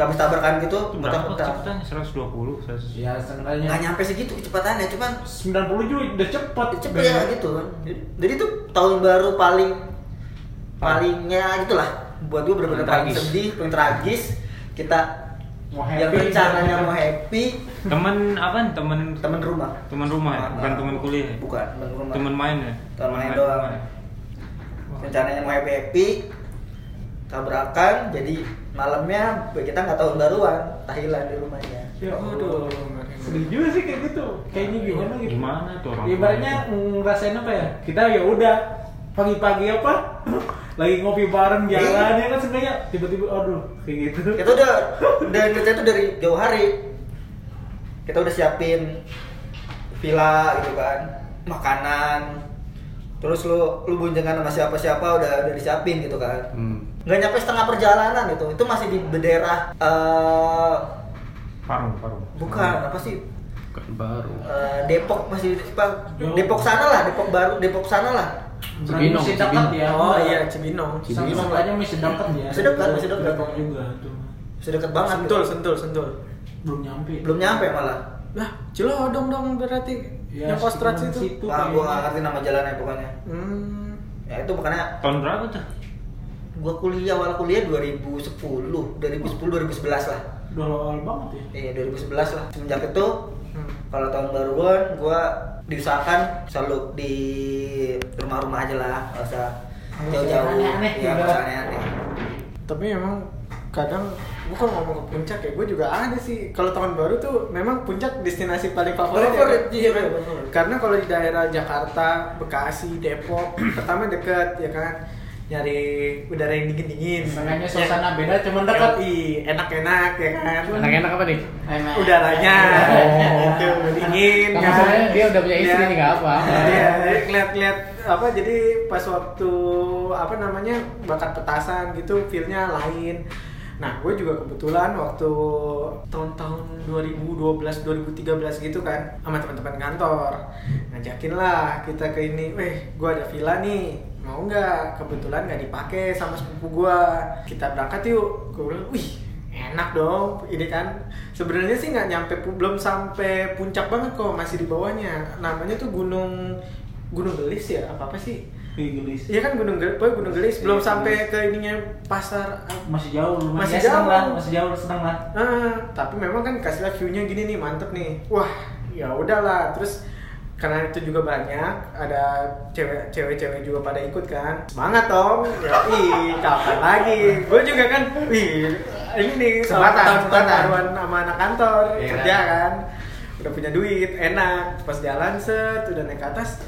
D: habis tabrakan gitu
A: Itu
D: motor
A: berapa
D: kepental
A: cepetannya? 120, 100.
C: ya setengahnya
D: nggak nyampe segitu kecepatannya cuman
C: 90 juga udah cepet.
D: cepet ya gitu kan jadi itu tahun baru paling palingnya gitulah buat gue bener-bener paling
E: Tragis.
D: sedih paling tragis kita
C: Mau
D: yang
C: happy. gitu.
D: rencananya mau happy
A: Temen apa? Temen
D: temen rumah
A: temen rumah ya?
D: Nah,
A: Bukan temen kuliah ya?
D: bukan temen rumah
A: Temen main ya?
D: Temen main doang. rencananya mau happy happy tabrakan jadi malamnya kita nggak tahun baruan Thailand di rumahnya
C: Ya
B: Waduh.
C: aduh. Sedih juga sih kayak gitu. Kayaknya gimana gitu.
A: Gimana tuh orang
C: Ibaratnya ngerasain apa ya? Kita ya udah pagi-pagi apa? <laughs> Lagi ngopi bareng jalan ya kan sebenarnya tiba-tiba aduh kayak gitu.
D: kita udah dan kerja itu dari jauh hari kita udah siapin villa gitu kan makanan terus lu lu boncengan sama siapa siapa udah udah disiapin gitu kan
E: Hmm.
D: nggak nyampe setengah perjalanan itu itu masih di daerah eh,
A: Parung, parung.
D: bukan apa sih
E: Bukan baru.
D: eh, Depok masih apa, Depok sana lah Depok baru Depok sana lah
E: Cibinong,
C: Masih dekat
E: Cibinong.
C: ya.
B: Oh iya, Cibinong.
C: Sama
E: Cibinong.
C: seenggaknya masih dekat ya.
D: Masih
B: kan,
D: dekat, masih dekat.
C: Depok juga tuh.
D: sudah deket banget
B: Sentul,
D: gitu.
B: sentul, sentul.
C: Belum nyampe.
D: belum nyampe malah
B: Lah, cilodong dong berarti
C: Ya,
D: Iya,
B: yang postrat
C: Cibinong
B: situ.
C: situ.
D: Wah, gua nggak ngerti nama jalannya pokoknya
B: Hmm.
D: ya itu makanya
A: Tahun berapa tuh?
D: gua kuliah awal kuliah 2010 2010 2011 lah
C: Udah awal banget ya.
D: Iya 2011 lah semenjak itu
B: Hmm.
D: kalau tahun baruan gua diusahakan selalu di rumah-rumah aja lah nggak usah jauh-jauh
C: Aneh-aneh
D: ya
C: juga.
D: nggak usah aneh-aneh
B: Tapi emang kadang gua kalau ngomong ke puncak ya gua juga ada sih kalau tahun baru tuh memang puncak destinasi paling favorit, ya,
D: Favorit,
B: kan?
D: iya, favorit.
B: <clears throat> karena kalau di daerah Jakarta Bekasi Depok pertama deket ya kan nyari udara yang Ya. dingin dingin
C: Makanya suasana beda cuman dekat.
B: enak enak ya kan
E: Enak-enak Iya. apa nih?
B: udaranya
E: Oh.
B: itu dingin kan?
E: Nah, masalahnya dia udah punya istri nih, nggak apa.
B: Iya, ngeliat-ngeliat apa jadi pas waktu apa namanya bakat petasan gitu feel-nya lain. Nah, gue juga kebetulan waktu tahun-tahun 2012-2013 gitu kan sama teman-teman kantor ngajakin lah kita ke ini, weh gue ada villa nih mau nggak kebetulan nggak dipakai sama sepupu gue kita berangkat yuk gue bilang wih enak dong ini kan sebenarnya sih nggak nyampe pu- belum sampai puncak banget kok masih di bawahnya namanya tuh gunung gunung gelis ya apa apa sih
C: Inggris.
B: Iya kan gunung gelis, gunung gelis belum sampai ke ininya pasar eh,
C: Masih jauh lumayan.
B: Masih
C: Ya, seneng
B: jauh.
C: lah, masih jauh seneng lah.
B: Ah, tapi memang kan kasih lihat view-nya gini nih, mantep nih. Wah, ya udahlah. Terus karena itu juga banyak, ada cewek- cewek-cewek juga pada ikut kan. Semangat dong. Ya, ih, kapan lagi? Gue juga kan, wih, ini nih
D: Kesempatan,
B: tahun
D: kesempatan.
B: taruhan sama anak kantor
E: Iya.
B: kerja kan. Udah punya duit, enak. Pas jalan set, udah naik ke atas.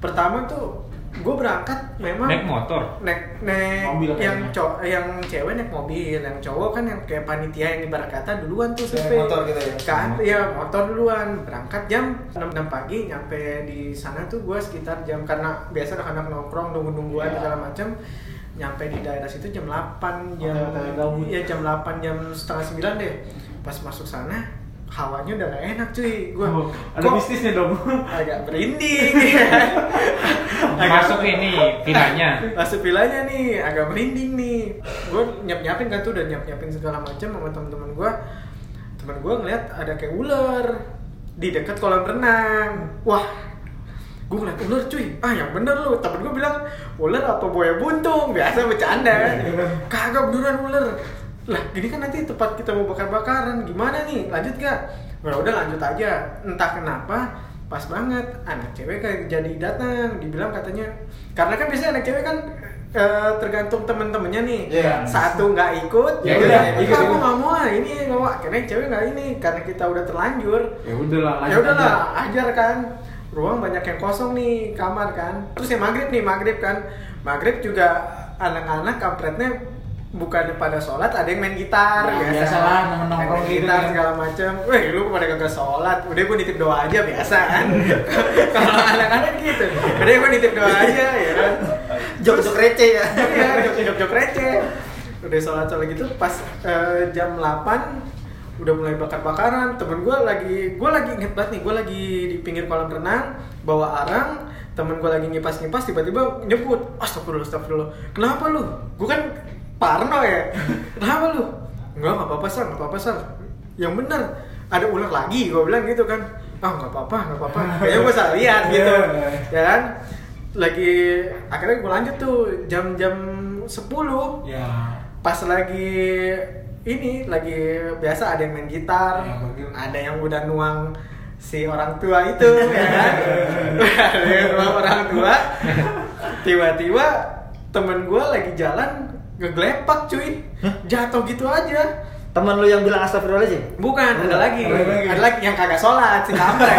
B: Pertama tuh gue berangkat memang
A: naik motor
B: naik naik
C: Mobil
B: yang
C: kayaknya.
B: cowok yang cewek naik mobil yang cowok kan yang kayak panitia yang ibarat kata duluan tuh
D: Kayak
B: survei
D: motor gitu ya?
B: kan ya motor duluan berangkat jam 6, 6 pagi nyampe di sana tuh gua sekitar jam karena biasa anak-anak nongkrong nunggu-nungguan segala macam nyampe di daerah situ jam 8 jam
C: Hotel-hotel gabut.
B: iya jam 8 jam setengah 9 deh pas masuk sana hawanya udah gak enak cuy gua
C: Oh, ada
B: kok
C: bisnisnya dong. <laughs>
B: agak merinding Agak-
A: masuk ini
B: <laughs>
A: villanya
B: masuk villanya nih agak merinding nih gue nyiap nyiapin kan tuh udah nyiap nyiapin segala macam sama teman-teman gue teman gue ngeliat ada kayak ular di dekat kolam renang wah gue ngeliat ular cuy ah yang bener lu temen gue bilang ular apa buaya buntung biasa bercanda kan. kagak beneran ular lah gini kan nanti tempat kita mau bakar-bakaran gimana nih lanjut gak Nah, udah lanjut aja entah kenapa pas banget anak cewek kayak jadi datang dibilang katanya karena kan biasanya anak cewek kan eh, tergantung temen-temennya nih
D: Iya.
B: satu nggak ikut
C: Ya
B: yaudah,
C: udah,
B: ikut
C: ikut,
B: aku
C: ikut."
B: nggak mau ah, ini nggak mau karena yang cewek nggak ini karena kita udah terlanjur
C: Ya udahlah,
B: ya udahlah ajar kan ruang banyak yang kosong nih kamar kan terus ya maghrib nih maghrib kan maghrib juga anak-anak kampretnya bukan pada sholat ada yang main gitar
C: Ya, biasalah, temen
B: Main
C: nongkrong gitu
B: gitar
C: kan.
B: segala macam weh lu pada kagak sholat udah gue nitip doa aja biasa
C: <laughs>
B: kan kalau anak-anak gitu udah gue nitip doa aja ya kan
D: Jok-jok receh ya.
B: Iya, <laughs> jok-jok receh. Udah sholat sholat gitu pas eh, jam 8 udah mulai bakar-bakaran. Temen gue lagi, gue lagi inget banget nih, gue lagi di pinggir kolam renang bawa arang. Temen gue lagi ngipas-ngipas tiba-tiba nyebut, astagfirullah, astagfirullah. Kenapa lu? Gue kan parno ya. <laughs> Kenapa lu? Enggak, nggak apa-apa sar, nggak apa-apa sar. Yang bener ada ular lagi, gue bilang gitu kan. Ah, nggak apa-apa, nggak apa-apa. Kayaknya gue salah lihat gitu,
C: Iya.
B: ya kan? Lagi akhirnya gue lanjut tuh jam-jam 10
C: Ya.
B: pas lagi ini lagi biasa ada yang main gitar,
C: Ya, mungkin.
B: ada yang udah nuang si orang tua itu ya kan. ada yang nuang orang tua. Tiba-tiba temen gue lagi jalan ngeglepak cuy. Jatuh gitu aja.
D: Temen lu yang bilang astagfirullahaladzim?
B: Bukan, ada lagi.
C: Ada lagi.
B: Ada lagi yang kagak sholat, si kampret.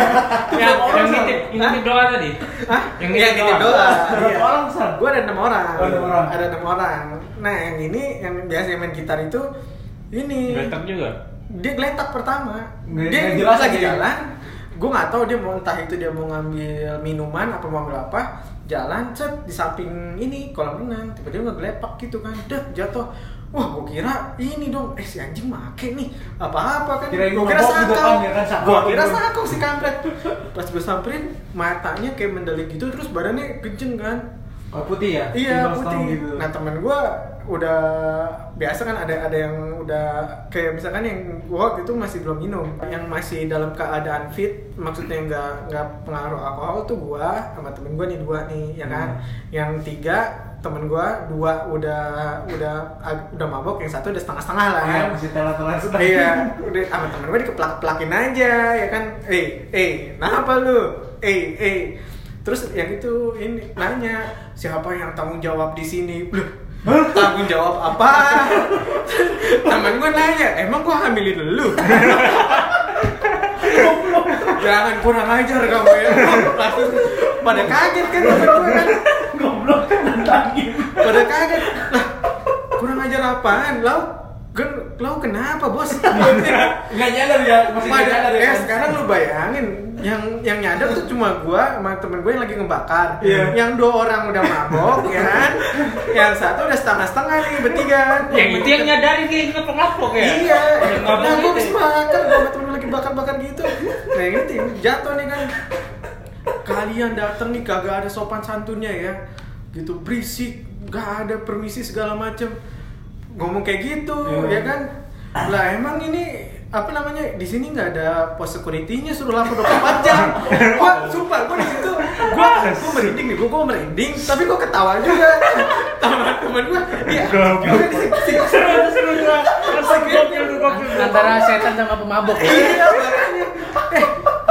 A: yang yang
B: sholat.
A: nitip yang nitip doa tadi
B: Hah?
A: Yang
B: Iya,
A: nitip
B: nitip
A: doa.
B: doa.
C: Berapa
B: Iya.
C: orang, San?
B: Gua ada enam orang.
C: Oh, enam orang.
B: Ada enam orang. Nah, yang ini yang biasa main gitar itu ini
A: Geletak juga
B: dia geletak pertama.
C: Nggak-
B: dia
C: nggak jelas
B: lagi
C: lagi.
B: jalan. Gue nggak tahu dia mau entah itu dia mau ngambil minuman apa mau ngambil apa. Jalan cet di samping ini kolam renang tiba-tiba ngegelepak gitu kan. Dah jatuh. Wah, gue kira ini dong, eh si anjing make nih apa-apa kan?
C: Kirain
B: Gua kira
C: mabok juga
B: sakau.
C: kan, ya kan, sakau.
B: Gua kira sakau si kampret. Pas gue samperin, matanya kayak mendelik gitu, terus badannya kenceng kan,
C: Kalau putih ya?
B: Iya
C: Timbang
B: putih.
C: setahun gitu.
B: Nah temen gue udah biasa kan ada ada yang udah kayak misalkan yang gue waktu itu masih belum minum, yang masih dalam keadaan fit, maksudnya nggak nggak pengaruh alkohol tuh gue sama temen gue nih dua nih, ya kan?
C: Hmm.
B: Yang tiga temen gue dua udah udah ag- udah mabok, yang satu udah setengah setengah lah.
C: Iya,
B: kan?
C: masih telat-telat sudah.
B: iya udah sama temen gue dikeplak-plakin aja ya kan eh eh kenapa lu eh eh terus yang itu ini nanya siapa yang tanggung jawab di sini Loh, tanggung jawab apa <laughs> temen gue nanya emang gue hamilin lu jangan kurang ajar kamu ya langsung pada kaget kan temen gue kan
C: Goblok kan nantangin.
B: pada kaget lah kurang ajar apaan lau gen lau kenapa bos
C: Nggak nyadar ya, masih nggak
B: pada
C: nyadar ya.
B: eh
C: kan?
B: sekarang lu bayangin yang yang nyadar tuh cuma gua sama temen gue yang lagi ngebakar
C: Iya.
B: yang dua orang udah mabok ya kan yang satu udah setengah setengah nih bertiga kan
A: Yang itu yang nyadarin dia yang ngelapok-lapok ya?
B: Iya,
A: Udah
B: nah
A: ngomong
B: gue
A: gitu.
B: habis makan, gue sama temen lagi bakar-bakar gitu Nah yang ini jatuh nih kan Kalian datang nih kagak ada sopan santunnya ya Gitu berisik, gak ada permisi segala macem Ngomong kayak gitu, ya kan Lah emang ini apa namanya di sini nggak ada pos security-nya suruh lapor 24 jam. Gua sumpah gua di situ gua gua merinding nih, gua gua merinding, tapi gua ketawa juga. Teman teman gua, iya. Gua disik-
E: antara setan sama pemabok ya.
B: Iya makanya. Eh,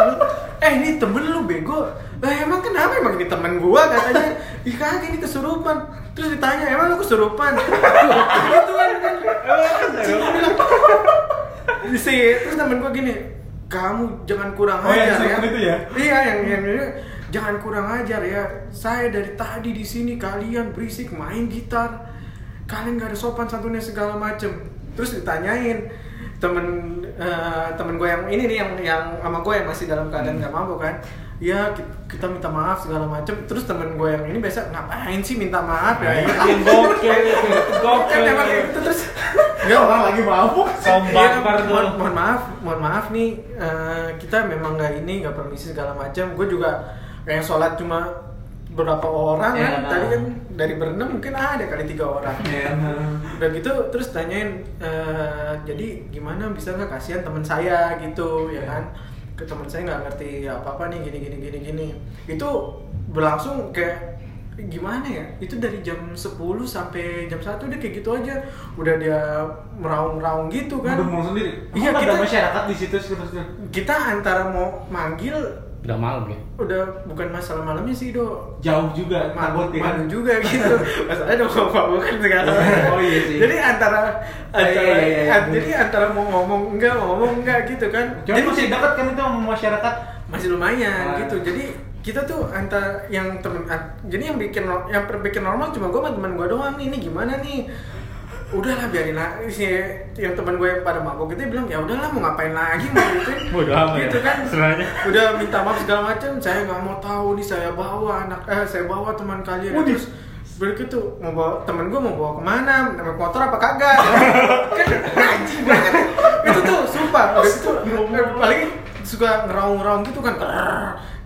B: lu- Eh ini temen lu bego. Lah emang kenapa emang ini temen gua katanya Ih kagak ini kesurupan Terus ditanya emang lu kesurupan <laughs> Gitu kan kan Terus gua bilang, <laughs> Si terus temen gua gini Kamu jangan kurang
C: Oh,
B: ajar
C: yang
B: ya
C: kesurupan itu ya?
B: Iya yang yang ini, Jangan kurang ajar ya Saya dari tadi di sini kalian berisik main gitar Kalian gak ada sopan santunnya segala macem Terus ditanyain temen eh, temen gue yang ini nih yang yang sama gue yang masih dalam keadaan nggak mampu kan ya ki- kita minta maaf segala macem terus temen gue yang ini biasa ngapain sih minta maaf
A: Nah,
B: ya
A: itu yang gokil, itu yang
B: kan
A: gokil.
B: emang kayak gitu terus
C: Nggak, orang lagi mabuk.
A: Sombak
B: Iya,
A: bar
B: mohon,
A: tuh.
B: mohon maaf, mohon maaf nih eh, kita memang nggak ini nggak permisi segala macam. Gue juga kayak sholat cuma beberapa orang
C: Iya,
B: kan.
C: nah.
B: Tadi kan dari berenam mungkin ada kali tiga orang.
C: Iya.
B: Udah gitu terus tanyain eh, jadi gimana bisa nggak kasihan teman saya gitu ya kan ke teman saya nggak ngerti apa-apa nih gini gini gini gini itu berlangsung kayak gimana ya itu dari jam 10 sampai jam 1 udah kayak gitu aja udah dia meraung-raung gitu kan
C: Udah mau sendiri.
B: Iya,
C: Apa Kan ada
B: kita-
C: masyarakat di situ seterusnya.
B: kita antara mau manggil
E: udah malam ya
B: udah bukan masalah malamnya sih do
C: Jauh juga,
B: mabuk
C: takut ya kan?
B: mabuk juga gitu <laughs> masalahnya udah mau mabukan segala
C: Oh, iya sih.
B: jadi antara
C: Oh,
B: antara-
C: iya, iya, iya, iya.
B: jadi antara mau ngomong enggak mau ngomong enggak gitu kan
C: Cuma
B: Jadi
C: masih dekat kan itu sama masyarakat.
B: masih lumayan
C: Ah.
B: gitu jadi kita tuh antara yang temen an- jadi yang bikin no- yang per- bikin normal cuma gue sama teman gue doang nih ini gimana nih udahlah biarin lah si yang teman gue yang pada mabok itu dia bilang ya udahlah mau ngapain lagi mau
C: <laughs>
B: gitu
A: Bodoh amat
B: gitu
A: ya,
B: kan
A: sebenarnya.
B: udah minta maaf segala macam saya nggak mau tahu nih saya bawa anak eh saya bawa teman kalian
C: Waduh.
B: terus begitu mau bawa temen gue mau bawa kemana naik motor apa kagak kan anjing banget itu tuh sumpah itu paling suka ngeraung-raung gitu kan "Grrr,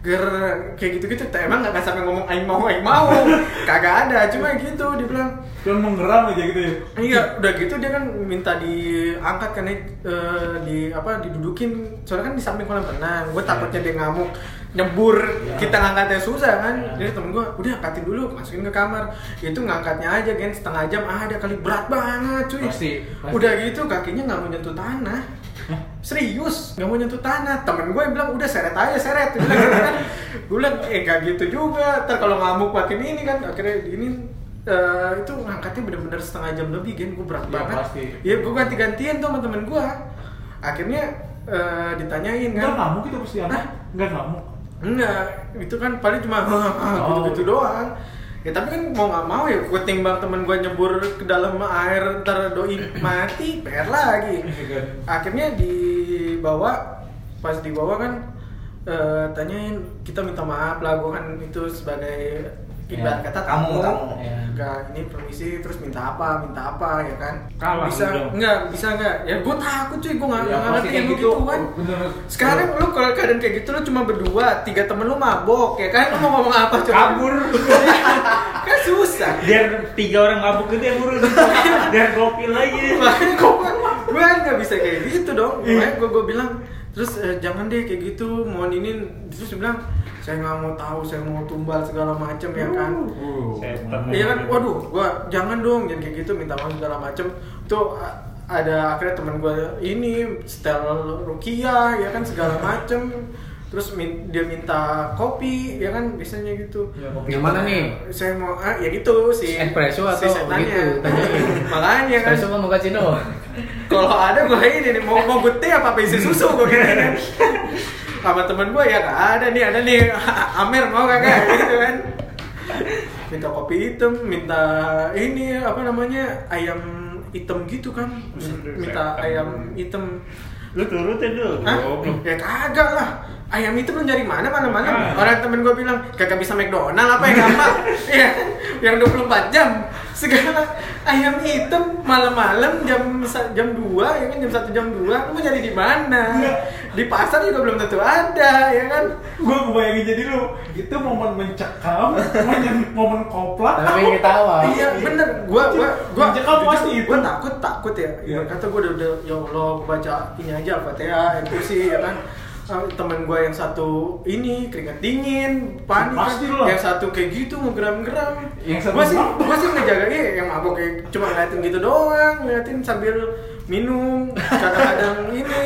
B: grrr," kayak gitu-gitu emang nggak sampai ngomong aing mau aing mau kagak ada cuma gitu dibilang
C: Cuma menggeram aja gitu ya.
B: Iya, udah gitu dia kan minta diangkat kan eh, di apa didudukin. Soalnya kan di samping kolam renang.
C: Iya.
B: Gue takutnya dia ngamuk, nyebur. Kita ngangkatnya susah kan.
C: Iya.
B: Jadi temen gue, udah angkatin dulu, masukin ke kamar. Itu ngangkatnya aja kan setengah jam ada kali berat banget cuy.
C: Pasti, pasti.
B: Udah gitu kakinya nggak mau nyentuh tanah. Serius, nggak mau nyentuh tanah. Temen gue bilang udah seret aja seret. Dia bilang, gitu kan. Gue bilang eh gak gitu juga. Ntar kalau ngamuk makin ini kan akhirnya ini eh itu ngangkatnya bener-bener setengah jam lebih gen gue berat
C: Iya,
B: banget
C: pasti.
B: ya gue ganti-gantian tuh sama temen gue akhirnya eh, ditanyain
C: Enggak
B: kan
C: ngamuk itu pasti apa?
B: Hah?
C: Enggak ngamuk.
B: enggak itu kan paling cuma <laughs>
C: Oh.
B: gitu-gitu doang ya tapi kan mau nggak mau ya gue timbang temen gue nyebur ke dalam air ntar doi mati PR lagi
A: Iya kan?
B: akhirnya dibawa pas dibawa kan eh, tanyain kita minta maaf lah gue kan itu sebagai ibarat
A: Iya.
F: Ya,
B: kata
F: kamu, kamu.
C: Ya.
B: enggak ini permisi terus minta apa minta apa ya kan
A: Kalah
B: bisa
A: lu dong. Iya,
B: enggak bisa enggak ya gue takut cuy gue nggak
C: Ya,
B: nggak
C: pasti
B: ngerti yang
C: kayak
B: gitu
C: gitu.
B: kan
C: Bener.
B: sekarang lu kalau keadaan kayak gitu lu cuma berdua tiga temen lu mabok ya kan lu mau ngomong apa coba
A: Kabur.
B: <laughs> kan susah <laughs>
A: Biar tiga orang mabuk itu yang ngurus. Biar gokil lagi.
B: makanya gue gue nggak bisa kayak gitu dong makanya gue gue bilang terus eh, jangan deh kayak gitu mohon ini terus dia bilang saya nggak mau tahu saya mau tumbal segala macem ya kan
C: Uh.
A: Setan.
B: iya kan waduh gua jangan dong jangan kayak gitu minta maaf segala macem tuh a- ada akhirnya teman gua ini setel rukiah ya kan
E: <laughs>
B: segala macem terus min- dia minta kopi ya kan biasanya gitu
C: Iya,
E: yang mana nih
B: saya mau ah, ya gitu si
E: Iya. Espresso
B: si
E: atau
B: setannya.
E: gitu, tanyain.
B: <laughs> makanya kan
E: Espresso kan mau cappuccino
B: kalau ada gue ini nih mau mau gue teh apa apa isi susu gue kira <laughs> sama temen gue ya gak ada nih ada nih Amer mau kagak gitu kan minta kopi hitam minta ini apa namanya ayam hitam gitu kan minta ayam hitam
C: Lu turutin dulu.
B: Hah? Ya kagak lah. Ayam itu belum dari mana mana mana. Orang temen gue bilang kagak bisa McDonald apa yang gampang. ya, yang 24 jam segala ayam hitam malam-malam jam sa- jam 2 ya kan jam 1 jam 2 lu mau nyari di mana? Di pasar juga belum tentu ada ya kan.
C: Gue bayangin jadi lu itu momen mencekam, momen momen kopla.
E: Tapi ketawa.
B: Iya bener, gua gua gua
C: Mencekam pasti
B: jujur,
C: itu.
B: Gua takut takut ya.
C: Iya.
B: Ibarat kata gua udah, udah ya Allah gua baca ini aja Al-Fatihah, MPC ya kan. Ah, temen gua yang satu ini keringat dingin, panik
C: Pasti
B: kan.
C: lu lah.
B: yang satu kayak gitu ngegeram-geram.
C: Yang satu
B: gua sih
C: mabok.
B: gua sih ngejaga iya, yang mabok kayak cuma ngeliatin gitu doang, ngeliatin sambil minum
C: <laughs>
B: kadang-kadang ini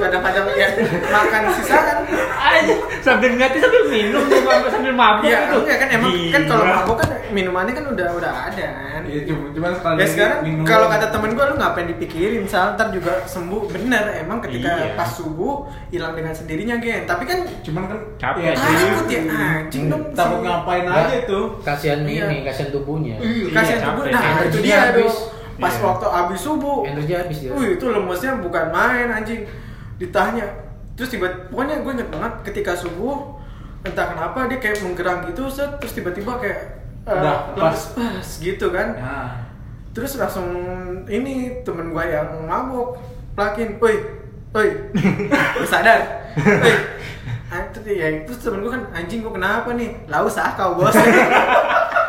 B: kadang-kadang ya makan sisaan
A: Aja sambil ngeliatin sambil minum sambil, sambil mabuk
B: ya
A: gitu.
B: enggak kan emang kan kalau
C: Gila.
B: mabok kan minumannya kan udah udah ada kan
C: Iya, cuma cuman sekali.
B: Ya sekarang
C: minum.
B: kalau kata temen gue lu ngapain dipikirin sal ntar juga sembuh bener emang ketika
A: Iya.
B: pas subuh hilang dengan sendirinya gen tapi kan
C: cuman kan
A: Capek.
C: ya,
B: takut
C: sih.
B: ya anjing dong
C: Takut
B: sih.
C: ngapain
E: Nggak.
C: aja tuh.
E: Kasihan
B: Iya.
E: ini, kasihan tubuhnya.
B: Ih, kasihan
A: Iya,
B: subuh
A: capek.
B: nah itu
E: Energinya
B: dia
E: habis.
B: dong pas
A: Iya.
B: waktu abis subuh
E: Energi habis dia.
B: wih itu lemesnya bukan main anjing ditanya terus tiba pokoknya gue inget banget ketika subuh entah kenapa dia kayak menggerang gitu set terus tiba-tiba kayak eh,
C: Udah,
B: lemes
C: pas.
B: pas gitu kan
C: Nah,
B: terus langsung ini temen gua yang mabuk plakin woi woi <laughs> Gua sadar woi Ah, terus ya terus temen gua kan anjing gua kenapa nih lau sah kau bos